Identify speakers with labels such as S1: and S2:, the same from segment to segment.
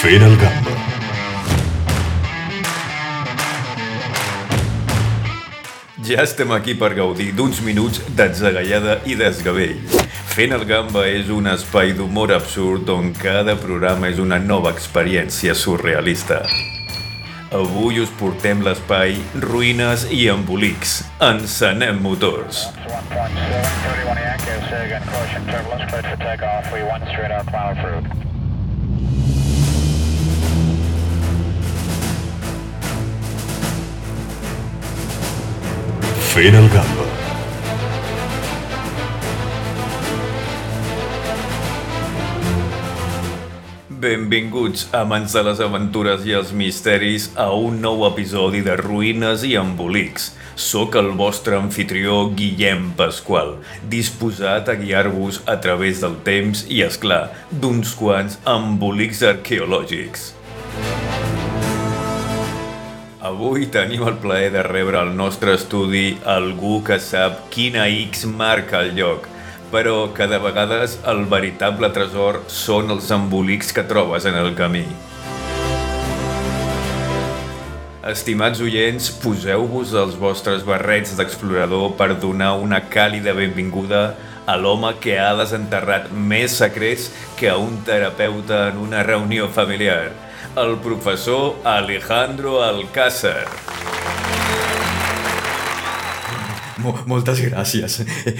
S1: ఫెయిల్ గా
S2: Ja estem aquí per gaudir d'uns minuts d'atzagallada i desgavell. Fent el gamba és un espai d'humor absurd on cada programa és una nova experiència surrealista. Avui us portem l'espai Ruïnes i Embolics. Encenem motors.
S3: 1.7, 31 Echo, say again, caution, turbulence, cleared for takeoff, we one straight our cloud route.
S1: Fail గా
S2: Benvinguts, amants de les aventures i els misteris, a un nou episodi de Ruïnes i Embolics. Soc el vostre anfitrió Guillem Pasqual, disposat a guiar-vos a través del temps i, és clar, d'uns quants embolics arqueològics. Avui tenim el plaer de rebre al nostre estudi algú que sap quina X marca el lloc, però que de vegades el veritable tresor són els embolics que trobes en el camí. Estimats oients, poseu-vos els vostres barrets d'explorador per donar una càlida benvinguda a l'home que ha desenterrat més secrets que a un terapeuta en una reunió familiar, el professor Alejandro Alcázar.
S4: Mo moltes gràcies.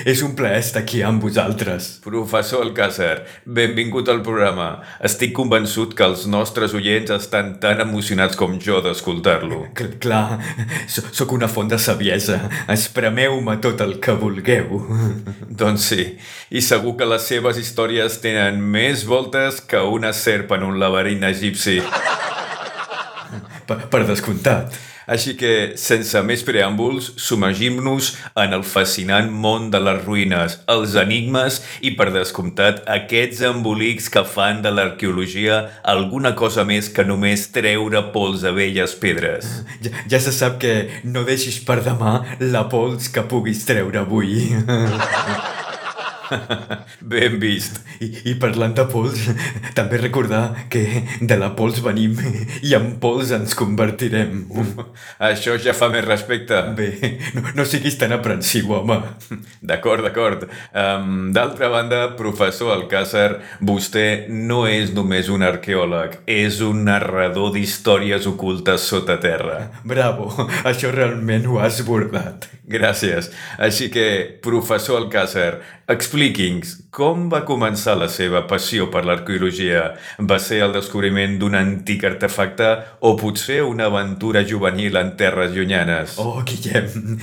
S4: És un plaer estar aquí amb vosaltres.
S2: Professor Alcázar, benvingut al programa. Estic convençut que els nostres oients estan tan emocionats com jo d'escoltar-lo.
S4: Cl clar, so sóc una font de saviesa. Espremeu-me tot el que vulgueu.
S2: Doncs sí, i segur que les seves històries tenen més voltes que una serp en un laberint egipci.
S4: Per, per descomptat.
S2: Així que, sense més preàmbuls, submergim-nos en el fascinant món de les ruïnes, els enigmes i, per descomptat, aquests embolics que fan de l'arqueologia alguna cosa més que només treure pols de velles pedres.
S4: Ja, ja se sap que no deixis per demà la pols que puguis treure avui.
S2: Ben vist.
S4: I, I parlant de pols, també recordar que de la pols venim i en pols ens convertirem.
S2: Això ja fa més respecte.
S4: Bé, no, no siguis tan aprensiu, home.
S2: D'acord, d'acord. Um, D'altra banda, professor Alcázar, vostè no és només un arqueòleg, és un narrador d'històries ocultes sota terra.
S4: Bravo, això realment ho has bordat.
S2: Gràcies. Així que, professor Alcázar, expliqui'ns com va començar la seva passió per l'arqueologia. Va ser el descobriment d'un antic artefacte o potser una aventura juvenil en terres llunyanes?
S4: Oh, Guillem,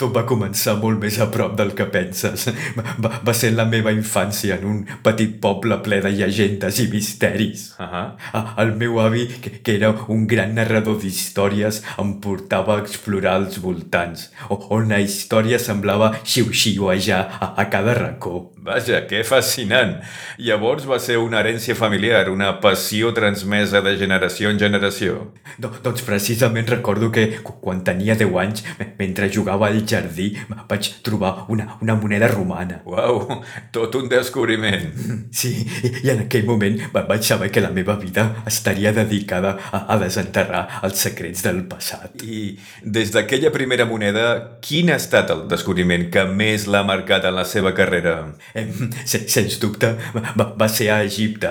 S4: tot va començar molt més a prop del que penses. Va, va ser la meva infància en un petit poble ple de llegendes i misteris.
S2: Ahà.
S4: A- El meu avi, que, que era un gran narrador d'històries, em portava a explorar els voltants, o- on la història semblava xiu-xiuejar a, a cada racó.
S2: Vaja, que fascinant! Llavors va ser una herència familiar, una passió transmesa de generació en generació.
S4: Do, doncs precisament recordo que cu- quan tenia 10 anys, me- mentre jugava al jardí, vaig trobar una, una moneda romana.
S2: Uau, tot un descobriment.
S4: Sí, i- i en aquell moment va- vaig saber que la meva vida estaria dedicada a, a desenterrar els secrets del passat.
S2: I des d'aquella primera moneda, quin ha estat el descobriment que més l'ha marcat en la seva carrera?
S4: Em, se- Sens dubte, va, va ser a Egipte.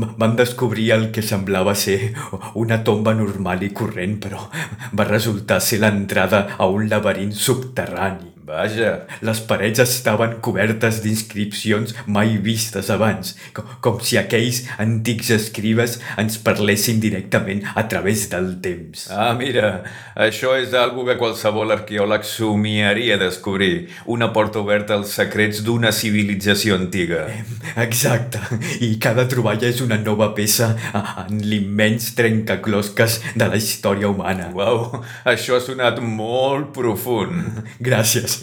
S4: Va- Van descobrir el que semblava ser una tomba normal i corrent, però va resultar ser l'entrada a un laberint subterrani.
S2: Vaja,
S4: Les parets estaven cobertes d'inscripcions mai vistes abans, co- com si aquells antics escribes ens parlessin directament a través del temps.
S2: ah, mira, això és algo que qualsevol arqueòleg somiaria descobrir, una porta oberta als secrets d'una civilització antiga.
S4: Exacte, i cada troballa és una nova peça a- en l'immens trencaclosques de la història humana.
S2: Uau, això ha sonat molt profund.
S4: Gràcies,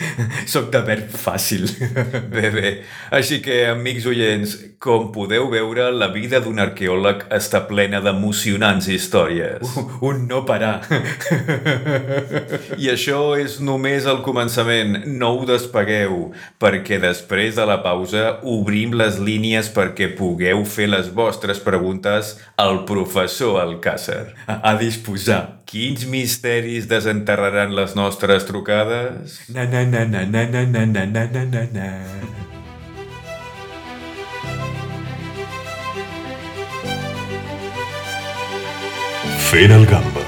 S4: Soc de verb fàcil.
S2: Bé, bé. Així que, amics oients, com podeu veure, la vida d'un arqueòleg està plena d'emocionants històries.
S4: Un no parar.
S2: I això és només el començament. No ho despegueu, perquè després de la pausa obrim les línies perquè pugueu fer les vostres preguntes al professor Alcàsser.
S4: A, a disposar.
S2: Quins misteris desenterraran les nostres trucades?
S4: Na na na na na na na na na na na na.
S1: Fent el gamba.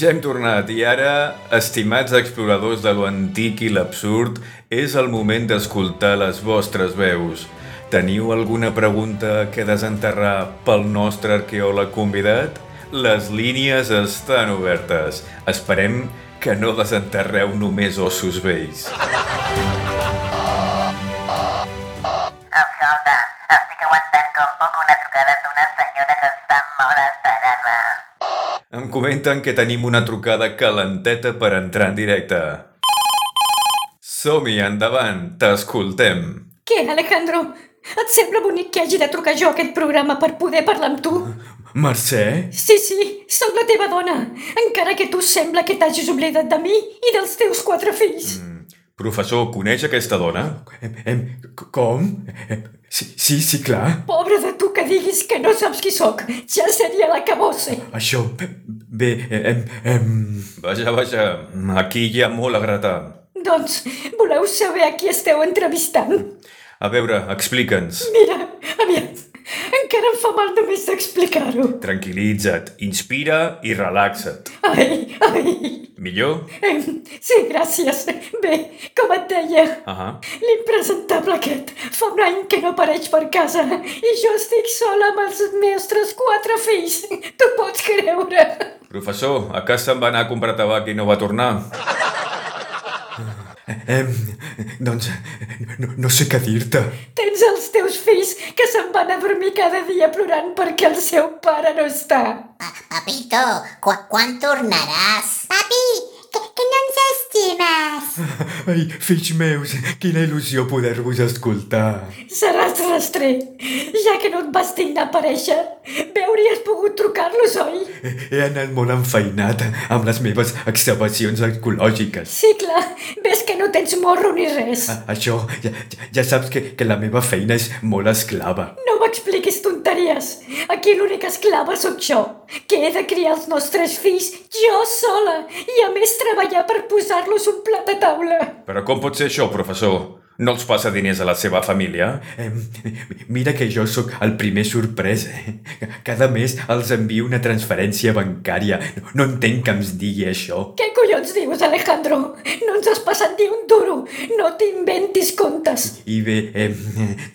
S2: Ja hem tornat i ara, estimats exploradors de lo antic i l'absurd, és el moment d'escoltar les vostres veus. Teniu alguna pregunta que desenterrar pel nostre arqueòleg convidat? Les línies estan obertes. Esperem que no desenterreu només ossos vells.
S5: Escolta, estic aguantant com puc una trucada d'una senyora que està molt esperant-me.
S2: Em comenten que tenim una trucada calenteta per entrar en directe. Som-hi, endavant, t'escoltem.
S6: Què, Alejandro? Et sembla bonic que hagi de trucar jo a aquest programa per poder parlar amb tu?
S4: Mercè?
S6: Sí, sí, sóc la teva dona, encara que tu sembla que t'hagis oblidat de mi i dels teus quatre fills.
S2: Professor, coneix aquesta dona?
S4: Em, em, c- com? Em, sí, sí, sí, clar.
S6: Pobre de tu que diguis que no saps qui sóc, ja seria la cabosse.
S4: Això... Bé, em, em...
S2: Vaja, vaja, aquí hi ha molt a gratar.
S6: Doncs, voleu saber a qui esteu entrevistant?
S2: A veure, explica'ns.
S6: Mira, aviat, encara em fa mal només d'explicar-ho.
S2: Tranquil·litza't, inspira i relaxa't.
S6: Ai, ai,
S2: Millor?
S6: em, sí, gràcies. Bé, com et deia,
S2: Ahà.
S6: L'impresentable aquest fa un any que no apareix per casa i jo estic sola amb els nostres quatre fills. Tu pots creure?
S2: Professor, a casa em va anar a comprar tabac i no va tornar.
S4: Em... Doncs... No, no sé què dir-te.
S6: Tens els teus fills que se'n van a dormir cada dia plorant perquè el seu pare no està.
S5: Papito, qu quan tornaràs? Papi, que, que no ens estimes.
S4: Ai, fills meus, quina il·lusió poder-vos escoltar.
S6: Seràs rastrer, ja que no et vas dignar a aparèixer. Bé, hauries pogut trucar-los, oi?
S4: He he anat molt enfeinat amb les meves excavacions arqueològiques.
S6: Sí, clar, ves que no tens morro ni res.
S4: A- Això, ja, ja- ja saps que, que la meva feina és molt esclava.
S6: No m'expliquis tonteries. Aquí l'única esclava sóc jo, que he de criar els nostres fills jo sola i a més treballar per posar-los un plat a taula.
S2: Però com pot ser això, professor? No els passa diners a la seva família?
S4: Em, Mira que jo sóc el primer sorprès. eh? Cada mes els envio una transferència bancària. No, no entenc que em digui això.
S6: Què collons dius, Alejandro? No ens has passat ni un duro. No t'inventis contes.
S4: I bé, em,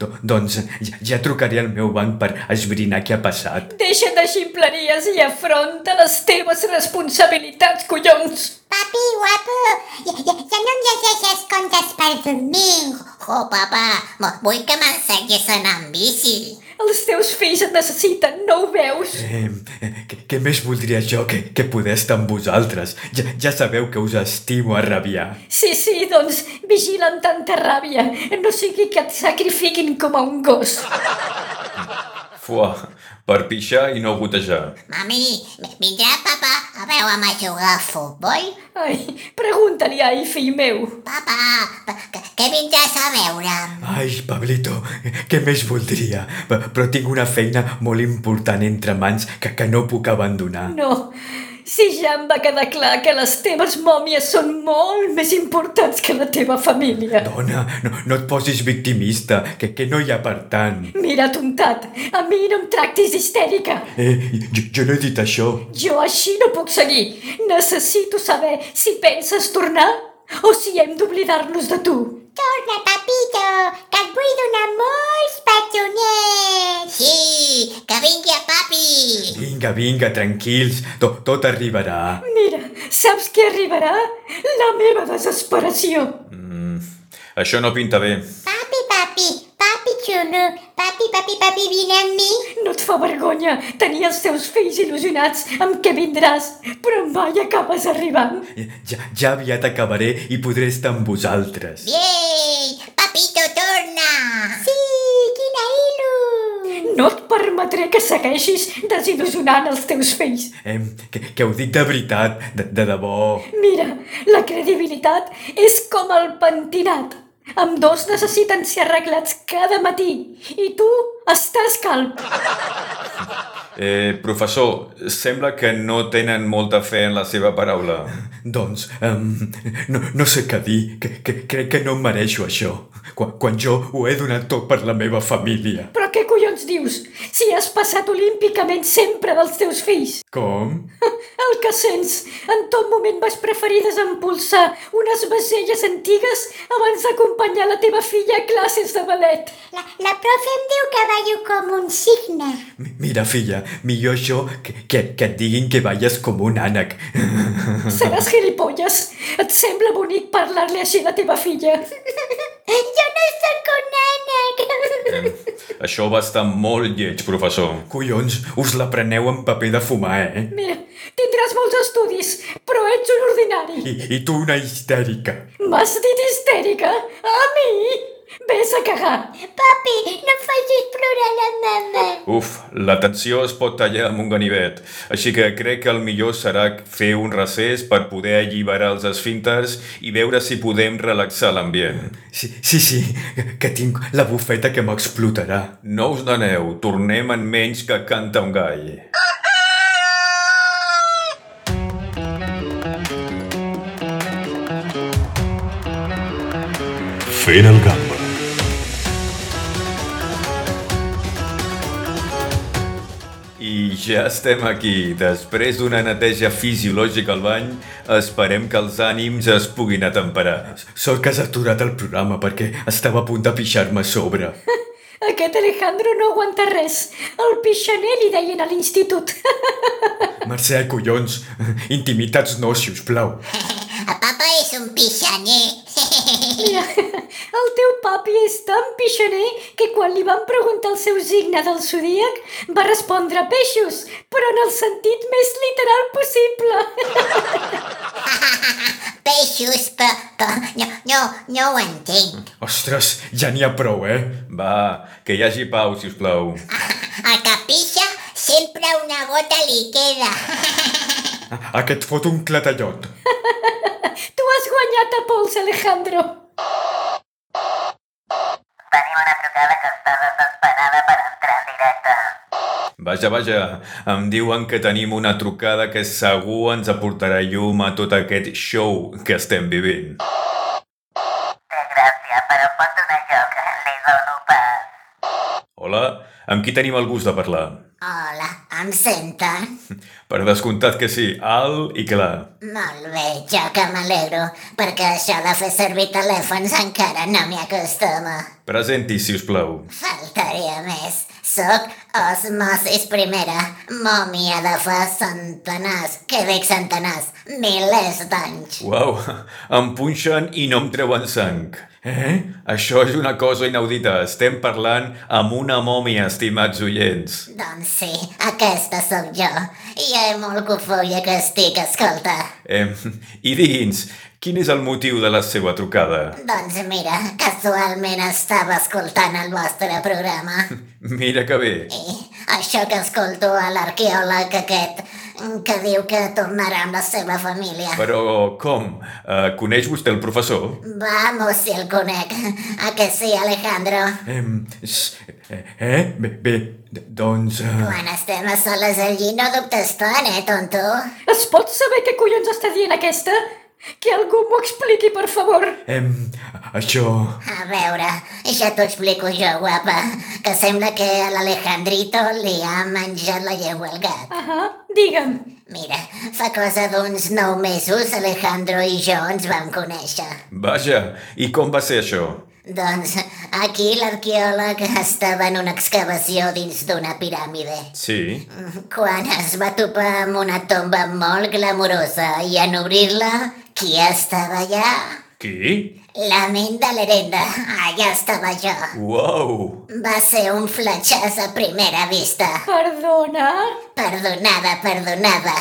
S4: do, doncs ja, ja trucaré al meu banc per esbrinar què ha passat.
S6: Deixa de ximpleries i afronta les teves responsabilitats, collons.
S7: Papi, guapo, ja, ja, ja no em llegeixes contes per dormir.
S5: Oh, papa, mu- vull que m'ensenyis a anar amb bici.
S6: Els teus fills et necessiten, no ho veus?
S4: Em, què, què més voldria jo que, que poder estar amb vosaltres? Ja, ja sabeu que us estimo a rabiar.
S6: Sí, sí, doncs vigila amb tanta ràbia. No sigui que et sacrifiquin com a un gos.
S2: Fuà, per pixar i no gotejar.
S5: Mami, vi- vindrà papa a veure'm a jugar a futbol?
S6: Ai, pregunta-li a ell, fill meu.
S5: Papa, pa- que, que vindràs a veure'm?
S4: Ai, Pablito, què més voldria? Pe- Però tinc una feina molt important entre mans que, que no puc abandonar.
S6: No, si ja em va quedar clar que les teves mòmies són molt més importants que la teva família.
S4: Dona, no, no et posis victimista, que, que no hi ha per tant.
S6: Mira, tontat, a mi no em tractis histèrica.
S4: Eh, jo, jo no he dit això.
S6: Jo així no puc seguir. Necessito saber si penses tornar o si hem d'oblidar-nos de tu.
S7: Torna, papito, que et vull donar molts petonets.
S5: Sí, que vingui a papi.
S4: Vinga, vinga, tranquils, to, tot arribarà.
S6: Mira, saps què arribarà? La meva desesperació.
S2: Això no pinta bé.
S7: Papi, papi, papi, jo no, no. Papi, papi, papi, vine amb mi.
S6: No et fa vergonya tenir els teus fills il·lusionats amb què vindràs, però mai acabes arribant.
S4: Ja, ja aviat acabaré i podré estar amb vosaltres.
S5: Ei, papito, torna!
S7: Sí, quina il·lu.
S6: No et permetré que segueixis desil·lusionant els teus fills.
S4: Eh, que, que ho dic de veritat, de, de debò.
S6: Mira, la credibilitat és com el pentinat. Amb dos necessiten ser arreglats cada matí i tu estàs calp.
S2: Eh, professor, sembla que no tenen molta fe en la seva paraula.
S4: Doncs, um, no, no sé què dir, que, que, crec que no em mereixo això, quan, quan jo ho he donat tot per la meva família.
S6: Però què collons dius? Si has passat olímpicament sempre dels teus fills.
S4: Com?
S6: El que sents, en tot moment vas preferir desempolsar unes vaselles antigues abans d'acompanyar la teva filla a classes de ballet.
S7: La, la profe em diu que ballo com un signe.
S4: Mi- Mira, filla, millor això que, que, que et diguin que balles com un ànec.
S6: Seràs gilipolles? Et sembla bonic parlar-li així a la teva filla?
S7: jo no sóc un ànec.
S2: Eh, això va estar molt lleig, professor.
S4: Collons, us la preneu amb paper de fumar, eh?
S6: Mira, tindràs molts estudis, però ets un ordinari.
S4: I, i tu una histèrica.
S6: M'has dit histèrica? A mi? Ves a cagar.
S7: Papi, no facis plorar la mama.
S2: Uf, la tensió es pot tallar amb un ganivet, així que crec que el millor serà fer un recés per poder alliberar els esfínters i veure si podem relaxar l'ambient.
S4: Sí, sí, sí, que- que tinc la bufeta que m'explotarà.
S2: No us n'aneu, tornem en menys que canta un gall.
S1: Fent el gamba.
S2: I ja estem aquí. Després d'una neteja fisiològica al bany, esperem que els ànims es puguin atemperar.
S4: Sort que has aturat el programa perquè estava a punt de pixar-me a sobre.
S6: Aquest Alejandro no aguanta res. El pixaner li deien a l'institut.
S4: Mercè, collons, intimitats no, si us plau.
S5: El papa és un pixaner.
S6: Mira, el teu papi és tan pixaner que quan li van preguntar el seu signe del zodíac va respondre peixos, però en el sentit més literal possible.
S5: Peixos, però, però no, no, no ho entenc.
S4: Ostres, ja n'hi ha prou, eh?
S2: Va, que hi hagi pau, si us plau.
S5: El que pixa sempre una gota li queda.
S4: A que et fot un clatallot.
S6: Tu has guanyat a pols, Alejandro.
S2: Vaja, vaja, em diuen que tenim una trucada que segur ens aportarà llum a tot aquest show que estem vivint. Hola, amb qui tenim el gust de parlar?
S5: Hola, em senten?
S2: Per descomptat que sí, alt i clar.
S5: Molt bé, jo que m'alegro, perquè això de fer servir telèfons encara no m'hi acostuma.
S2: Presenti, si us plau.
S5: Faltaria més. Soc Osmosis Primera, mòmia de fa centenars, que dic centenars, milers d'anys.
S2: Uau, em punxen i no em treuen sang.
S4: Eh?
S2: Això és una cosa inaudita. Estem parlant amb una mòmia, estimats oients.
S5: Doncs sí, aquesta sóc jo. I hi ha molt cofoia que estic, escolta.
S2: Eh, I digui'ns, quin és el motiu de la seva trucada?
S5: Doncs mira, casualment estava escoltant el vostre programa.
S2: Mira que bé.
S5: I això que escolto a l'arqueòleg aquest, que diu que tornarà amb la seva família.
S2: Però com? Eh, coneix vostè el professor?
S5: Vamos, si el conec. A que sí, Alejandro?
S4: Em, s- eh, eh? Bé, bé, d- doncs... eh,
S5: Quan estem a soles allí no dubtes tant, eh, tonto?
S6: Es pot saber què collons està dient aquesta? Que algú m'ho expliqui, per favor.
S4: Em, això...
S5: A veure, ja t'ho explico jo, guapa, que sembla que a l'Alejandrito li ha menjat la llengua al gat.
S6: Ahà, digue'm.
S5: Mira, fa cosa d'uns nou mesos Alejandro i jo ens vam conèixer.
S2: Vaja, i com va ser això?
S5: Doncs aquí l'arqueòleg estava en una excavació dins d'una piràmide.
S2: Sí.
S5: Quan es va topar amb una tomba molt glamurosa i en obrir-la, qui estava allà?
S2: Qui?
S5: La ment de l'herenda, allà estava jo.
S2: Uau!
S5: Va ser un fletxàs a primera vista.
S6: Perdona?
S5: Perdonada, perdonada.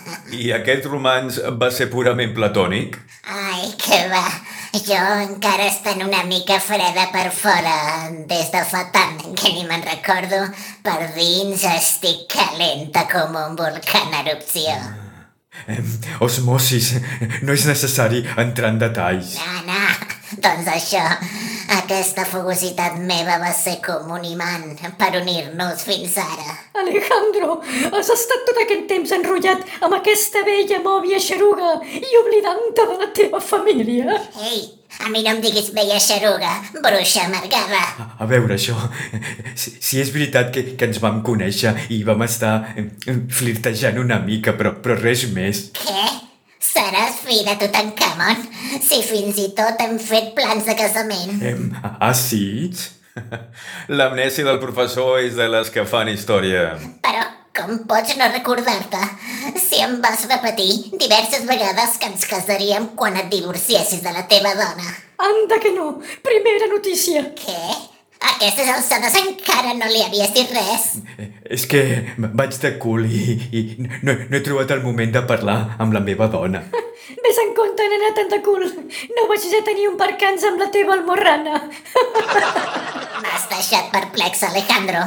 S2: I aquest romanç va ser purament platònic?
S5: Ai, que va. Jo encara estant una mica freda per fora, des de fa tant que ni me'n recordo, per dins estic calenta com un volcà en erupció.
S4: Eh, osmosis, no és necessari entrar en detalls.
S5: Anna, Ah, doncs això, aquesta fugositat meva va ser com un imant per unir-nos fins ara.
S6: Alejandro, has estat tot aquest temps enrotllat amb aquesta vella mòbia xeruga i oblidant-te de la teva família.
S5: Ei, a mi no em diguis vella xeruga, bruixa amargada.
S4: A veure, això, si, si és veritat que, que ens vam conèixer i vam estar eh, flirtejant una mica, però, però res més.
S5: Què? Seràs fi de Tutankamon? Si fins i tot hem fet plans de casament.
S4: Eh, ah, sí?
S2: L'amnèsia del professor és de les que fan història.
S5: Però com pots no recordar-te? Si em vas repetir diverses vegades que ens casaríem quan et divorciessis de la teva dona.
S6: Anda que no! Primera notícia!
S5: Què? A aquestes alçades encara no li havies dit res?
S4: Eh, És que vaig de cul i, i no, no he trobat el moment de parlar amb la meva dona.
S6: Ves en compte, nena, tant de cul. No vagis a tenir un percanç amb la teva almorrana.
S5: M'has deixat perplex, Alejandro.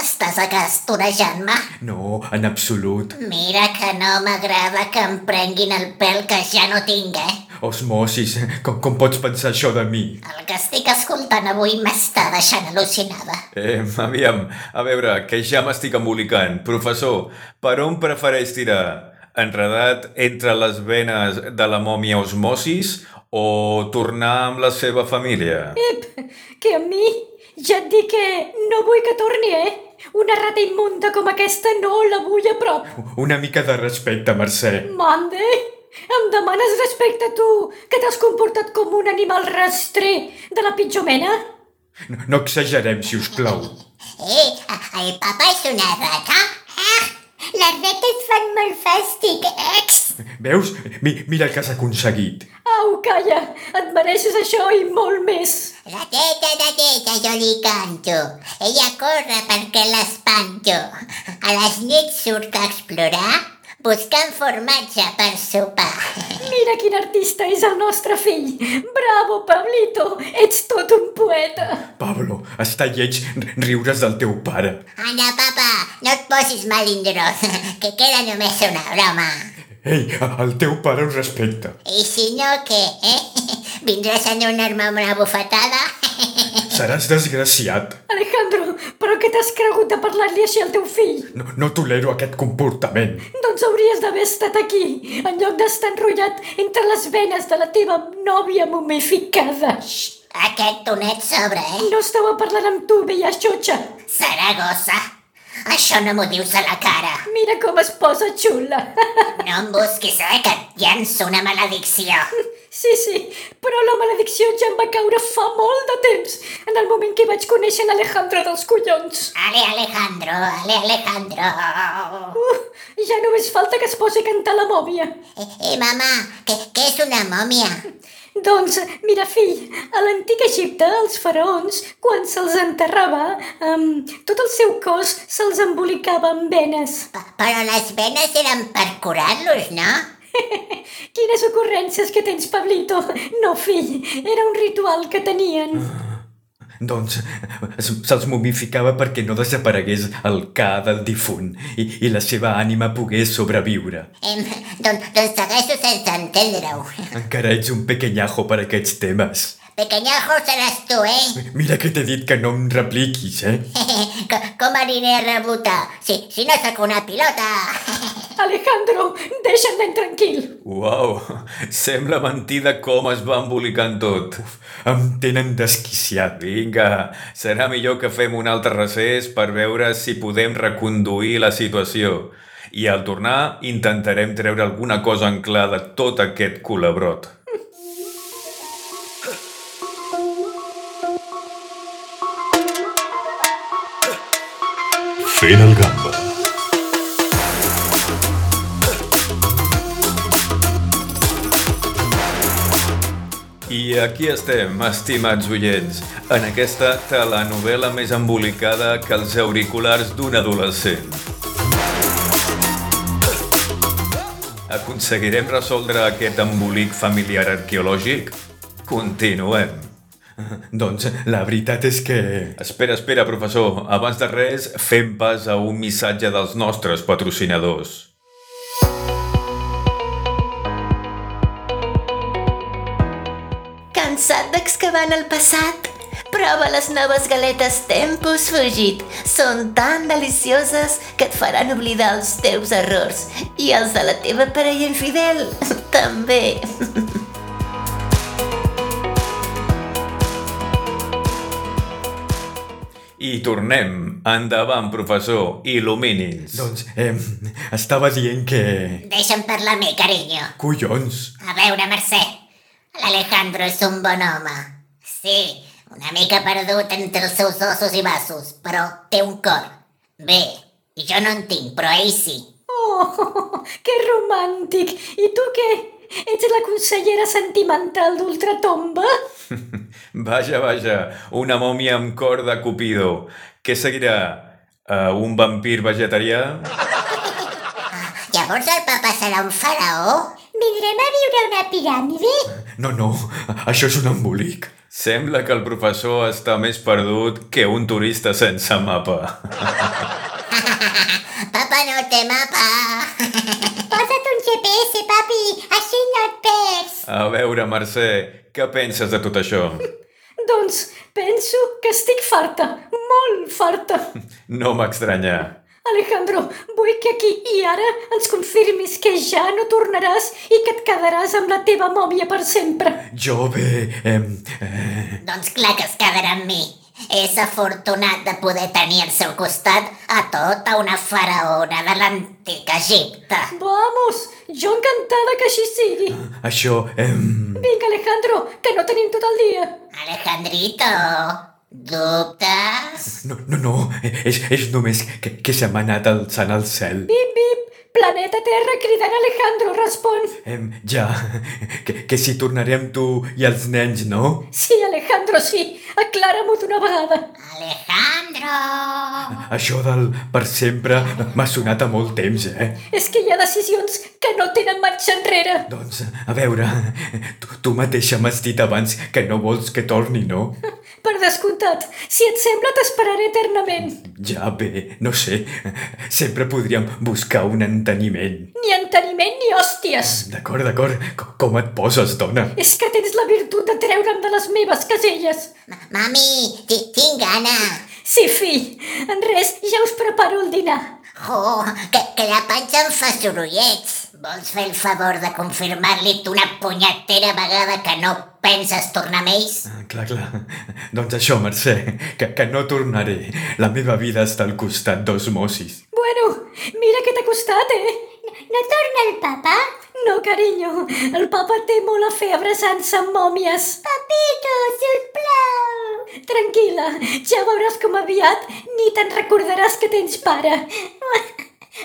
S5: Estàs acastorejant-me?
S4: No, en absolut.
S5: Mira que no m'agrada que em prenguin el pèl que ja no tinc, eh?
S4: Osmosis, com, com pots pensar això de mi?
S5: El que estic escoltant avui m'està deixant al·lucinada.
S2: Eh, aviam, a veure, que ja m'estic embolicant. Professor, per on prefereix tirar? Enredat entre les venes de la mòmia osmosis o tornar amb la seva família?
S6: Ep, que a mi ja et dic que no vull que torni, eh? Una rata immunda com aquesta no la vull a prop.
S4: Una mica de respecte, Mercè.
S6: Mande, em demanes respecte a tu, que t'has comportat com un animal rastrer de la pitjor mena?
S4: No, no exagerem, si us plau.
S5: Eh, el papa és una rata? eh?
S7: Ah, les rates fan molt fàstic, ex.
S4: Veus? Mi, mira el que has aconseguit.
S6: Au, calla, et mereixes això i molt més.
S5: Rateta, rateta, jo li canto. Ella corre perquè l'espanto. A les nits surt a explorar buscant formatge per sopar.
S6: Mira quin artista és el nostre fill. Bravo, Pablito, ets tot un poeta.
S4: Pablo, està lleig riures del teu pare.
S5: Anna, papa, no et posis malindros, que queda només una broma.
S4: Ei, el teu pare us respecta.
S5: I si no, què, eh? Vindràs a donar-me una bufetada?
S4: Seràs desgraciat.
S6: Alejandro, però què t'has cregut de parlar-li així al teu fill?
S4: No, no tolero aquest comportament.
S6: Doncs hauries d'haver estat aquí, en lloc d'estar enrotllat entre les venes de la teva nòvia momificada.
S5: Aquest tonet sobre, eh?
S6: No estava parlant amb tu, vella xotxa.
S5: Saragossa, això no m'ho dius a la cara.
S6: Mira com es posa xula.
S5: No em busquis, eh, que et llanço una maledicció.
S6: Sí, sí, però la maledicció ja em va caure fa molt de temps, en el moment que vaig conèixer l'Alejandro dels collons.
S5: Ale, Alejandro, ale, Alejandro.
S6: Uh, ja només falta que es posi a cantar la mòbia.
S5: Eh, eh mamà, què, què és una mòmia?
S6: Doncs, mira, fill, a l'antic Egipte, els faraons, quan se'ls enterrava, um, tot el seu cos se'ls embolicava amb venes.
S5: Pa- Però les venes eren per curar-los, no?
S6: Quines ocurrències que tens, Pablito! No, fill, era un ritual que tenien.
S4: Doncs es- se'ls momificava perquè no desaparegués el ca del difunt i, i la seva ànima pogués sobreviure.
S5: Em, doncs, doncs segueixo sense entendre-ho.
S4: Encara ets un pequeñajo per aquests temes.
S5: Pequeñajo seràs tu, eh?
S4: Mira que t'he dit que no em repliquis, eh?
S5: Co- Com aniré a rebotar? Si, si no sóc una pilota.
S6: Alejandro, deixa'm ben tranquil!
S2: Uau, sembla mentida com es va embolicant tot.
S4: Em tenen desquiciat.
S2: Vinga, serà millor que fem un altre recés per veure si podem reconduir la situació. I al tornar intentarem treure alguna cosa en clar de tot aquest culebrot.
S1: Fent el gamba.
S2: I I aquí estem, estimats oients, en aquesta telenovel·la més embolicada que els auriculars d'un adolescent. Aconseguirem resoldre aquest embolic familiar arqueològic? Continuem.
S4: Doncs la veritat és que...
S2: Espera, espera, professor. Abans de res, fem pas a un missatge dels nostres patrocinadors.
S8: Cansat d'excavar en el passat? Prova les noves galetes Tempus Fugit. Són tan delicioses que et faran oblidar els teus errors i els de la teva parella infidel, també.
S2: I tornem. Endavant, professor. Il·lumini'ns.
S4: Doncs, eh, estava dient que...
S5: Deixa'm parlar a mi, carinyo.
S4: Collons!
S5: A veure, Mercè, l'Alejandro és un bon home. Sí, una mica perdut entre els seus ossos i vasos, però té un cor. Bé, jo no en tinc, però ell sí.
S6: Oh, que romàntic! I tu què? Ets la consellera sentimental d'Ultratomba?
S2: Vaja, vaja. Una mòmia amb cor de Cupido. Què seguirà? Uh, un vampir vegetarià?
S5: Llavors el papa serà un faraó?
S7: Vindrem a viure a una piràmide?
S4: No, no, això és un embolic.
S2: Sembla que el professor està més perdut que un turista sense mapa.
S5: Papa no té mapa.
S7: Posa't un GPS, papi, així no et perds.
S2: A veure, Mercè, què penses de tot això?
S6: Doncs penso que estic farta, molt farta.
S2: No m'estranya.
S6: Alejandro, vull que aquí i ara ens confirmis que ja no tornaràs i que et quedaràs amb la teva mòmia per sempre.
S4: Jo bé... Eh, eh,
S5: doncs clar que es quedarà amb mi. És afortunat de poder tenir al seu costat a tota una faraona de l'antic Egipte.
S6: Vamos, jo encantada que així sigui.
S4: això... Eh,
S6: Vinga, Alejandro, que no tenim tot el dia.
S5: Alejandrito, dubtes?
S4: no, no, no, és, és només que, que se m'ha anat alçant al cel.
S6: Bip, bip, planeta Terra cridant Alejandro, respon.
S4: Eh, ja, que, que si tornaré amb tu i els nens, no?
S6: Sí, Alejandro, sí, aclara-m'ho d'una vegada.
S5: Alejandro!
S4: Això del per sempre m'ha sonat a molt temps, eh?
S6: És que hi ha decisions que no tenen marxa enrere.
S4: Doncs, a veure, tu, tu mateixa m'has dit abans que no vols que torni, no?
S6: Per descomptat, si et sembla t'esperaré eternament.
S4: Ja bé, no sé, sempre podríem buscar un enteniment.
S6: Ni enteniment ni hòsties.
S4: D'acord, d'acord, co- com et poses, dona?
S6: És que tens la virtut de treure'm de les meves caselles.
S5: Ma- Mami, ti- tinc gana.
S6: Sí, fill, en res, ja us preparo el dinar.
S5: Jo, Oh, que, que la panxa em fa sorollets. Vols fer el favor de confirmar-li d'una punyetera vegada que no penses tornar amb ells?
S4: Ah, Clar, clar. Doncs això, Mercè, que, que no tornaré. La meva vida està al costat d'osmosis.
S6: Bueno, mira que t'ha costat, eh?
S7: No torna el papa?
S6: No, carinyo, el papa té molt a fer abraçant-se amb mòmies.
S7: Papito, sisplau.
S6: Tranquil·la, ja veuràs com aviat ni te'n recordaràs que tens pare.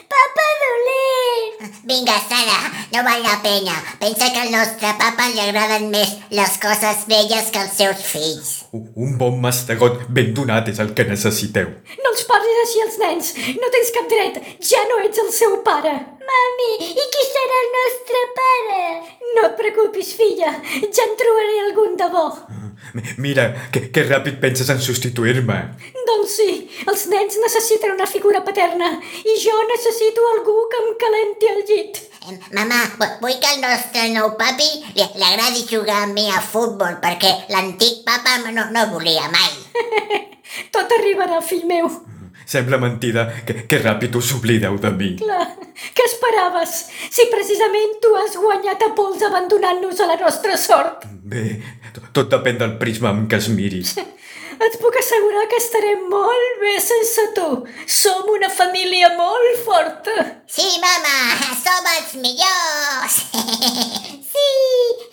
S7: Papa dolent.
S5: Vinga, Sara, no val la pena. Pensa que al nostre papa li agraden més les coses velles que els seus fills.
S4: U- Un bon mastegot ben donat és el que necessiteu.
S6: No els parlis així als nens, no tens cap dret, ja no ets el seu pare.
S7: Mami, i qui serà el nostre pare?
S6: No et preocupis, filla, ja en trobaré algun de bo.
S4: M- Mira, que, que ràpid penses en substituir-me.
S6: Doncs sí, els nens necessiten una figura paterna i jo necessito algú que em calenti el llit.
S5: Em, Mamà, vu- vull que el nostre nou papi li, li agradi jugar amb mi a futbol perquè l'antic papa no, no volia mai.
S6: Tot arribarà, fill meu.
S4: Sembla mentida que, que ràpid us oblideu de mi.
S6: Clar, què esperaves? Si precisament tu has guanyat a pols abandonant-nos a la nostra sort.
S4: Bé, to- tot depèn del prisma amb què es miris.
S6: Et puc assegurar que estarem molt bé sense tu. Som una família molt forta.
S5: Sí, mama, som els millors!
S7: Sí,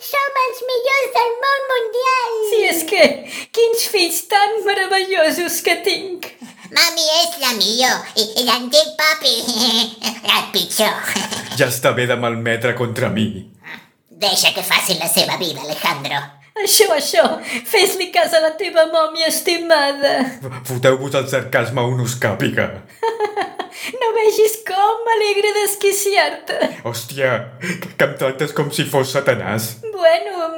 S7: som els millors del món mundial.
S6: Si és que, quins fills tan meravellosos que tinc.
S5: Mami és la millor i, i l'antic papi el pitjor.
S4: Ja està bé de malmetre contra mi.
S5: Deixa que faci la seva vida, Alejandro.
S6: Això, això, fes-li cas a la teva mòmia estimada.
S4: Foteu-vos el sarcasme unus càpiga.
S6: No vegis com m'alegre desquiciar-te.
S4: Hòstia, que, que em tractes com si fos satanàs.
S6: Bueno,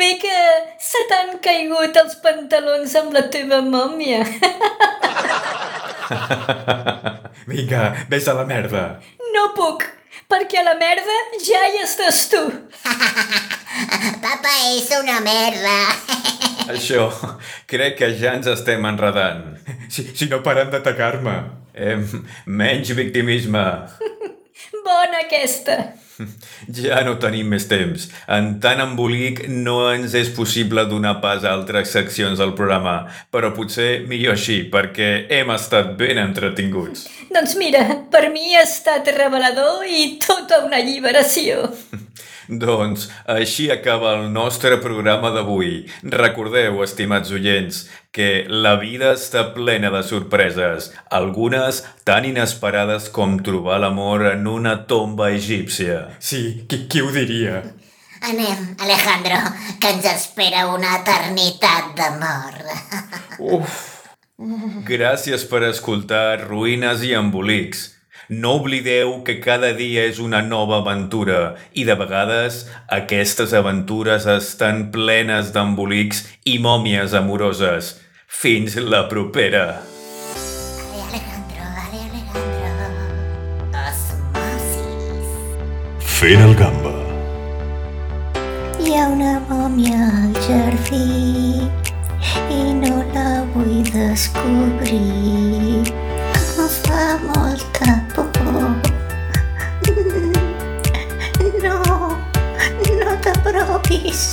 S6: bé que se t'han caigut els pantalons amb la teva mòmia.
S4: Vinga, vés a la merda.
S6: No puc, perquè a la merda ja hi estàs tu.
S5: Papa és una merda.
S2: Això, crec que ja ens estem enredant.
S4: Si, si no paren d'atacar-me.
S2: Em, menys victimisme.
S6: Bona aquesta.
S2: Ja no tenim més temps. En tant embolic no ens és possible donar pas a altres seccions del programa, però potser millor així, perquè hem estat ben entretinguts.
S6: Doncs mira, per mi ha estat revelador i tota una alliberació.
S2: Doncs així acaba el nostre programa d'avui. Recordeu, estimats oients, que la vida està plena de sorpreses, algunes tan inesperades com trobar l'amor en una tomba egípcia.
S4: Sí, qui, qui ho diria?
S5: Anem, Alejandro, que ens espera una eternitat d'amor.
S2: Gràcies per escoltar Ruïnes i Embolics. No oblideu que cada dia és una nova aventura i de vegades aquestes aventures estan plenes d'embolics i mòmies amoroses. Fins la propera!
S5: Ale, Alejandro, ale, Alejandro. Osmosis.
S1: Fent el gamba.
S7: Hi
S5: Ya
S7: ha una mòmia al jardí i no la vull descobrir. Em fa molta por. No, no t'apropis,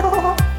S7: no.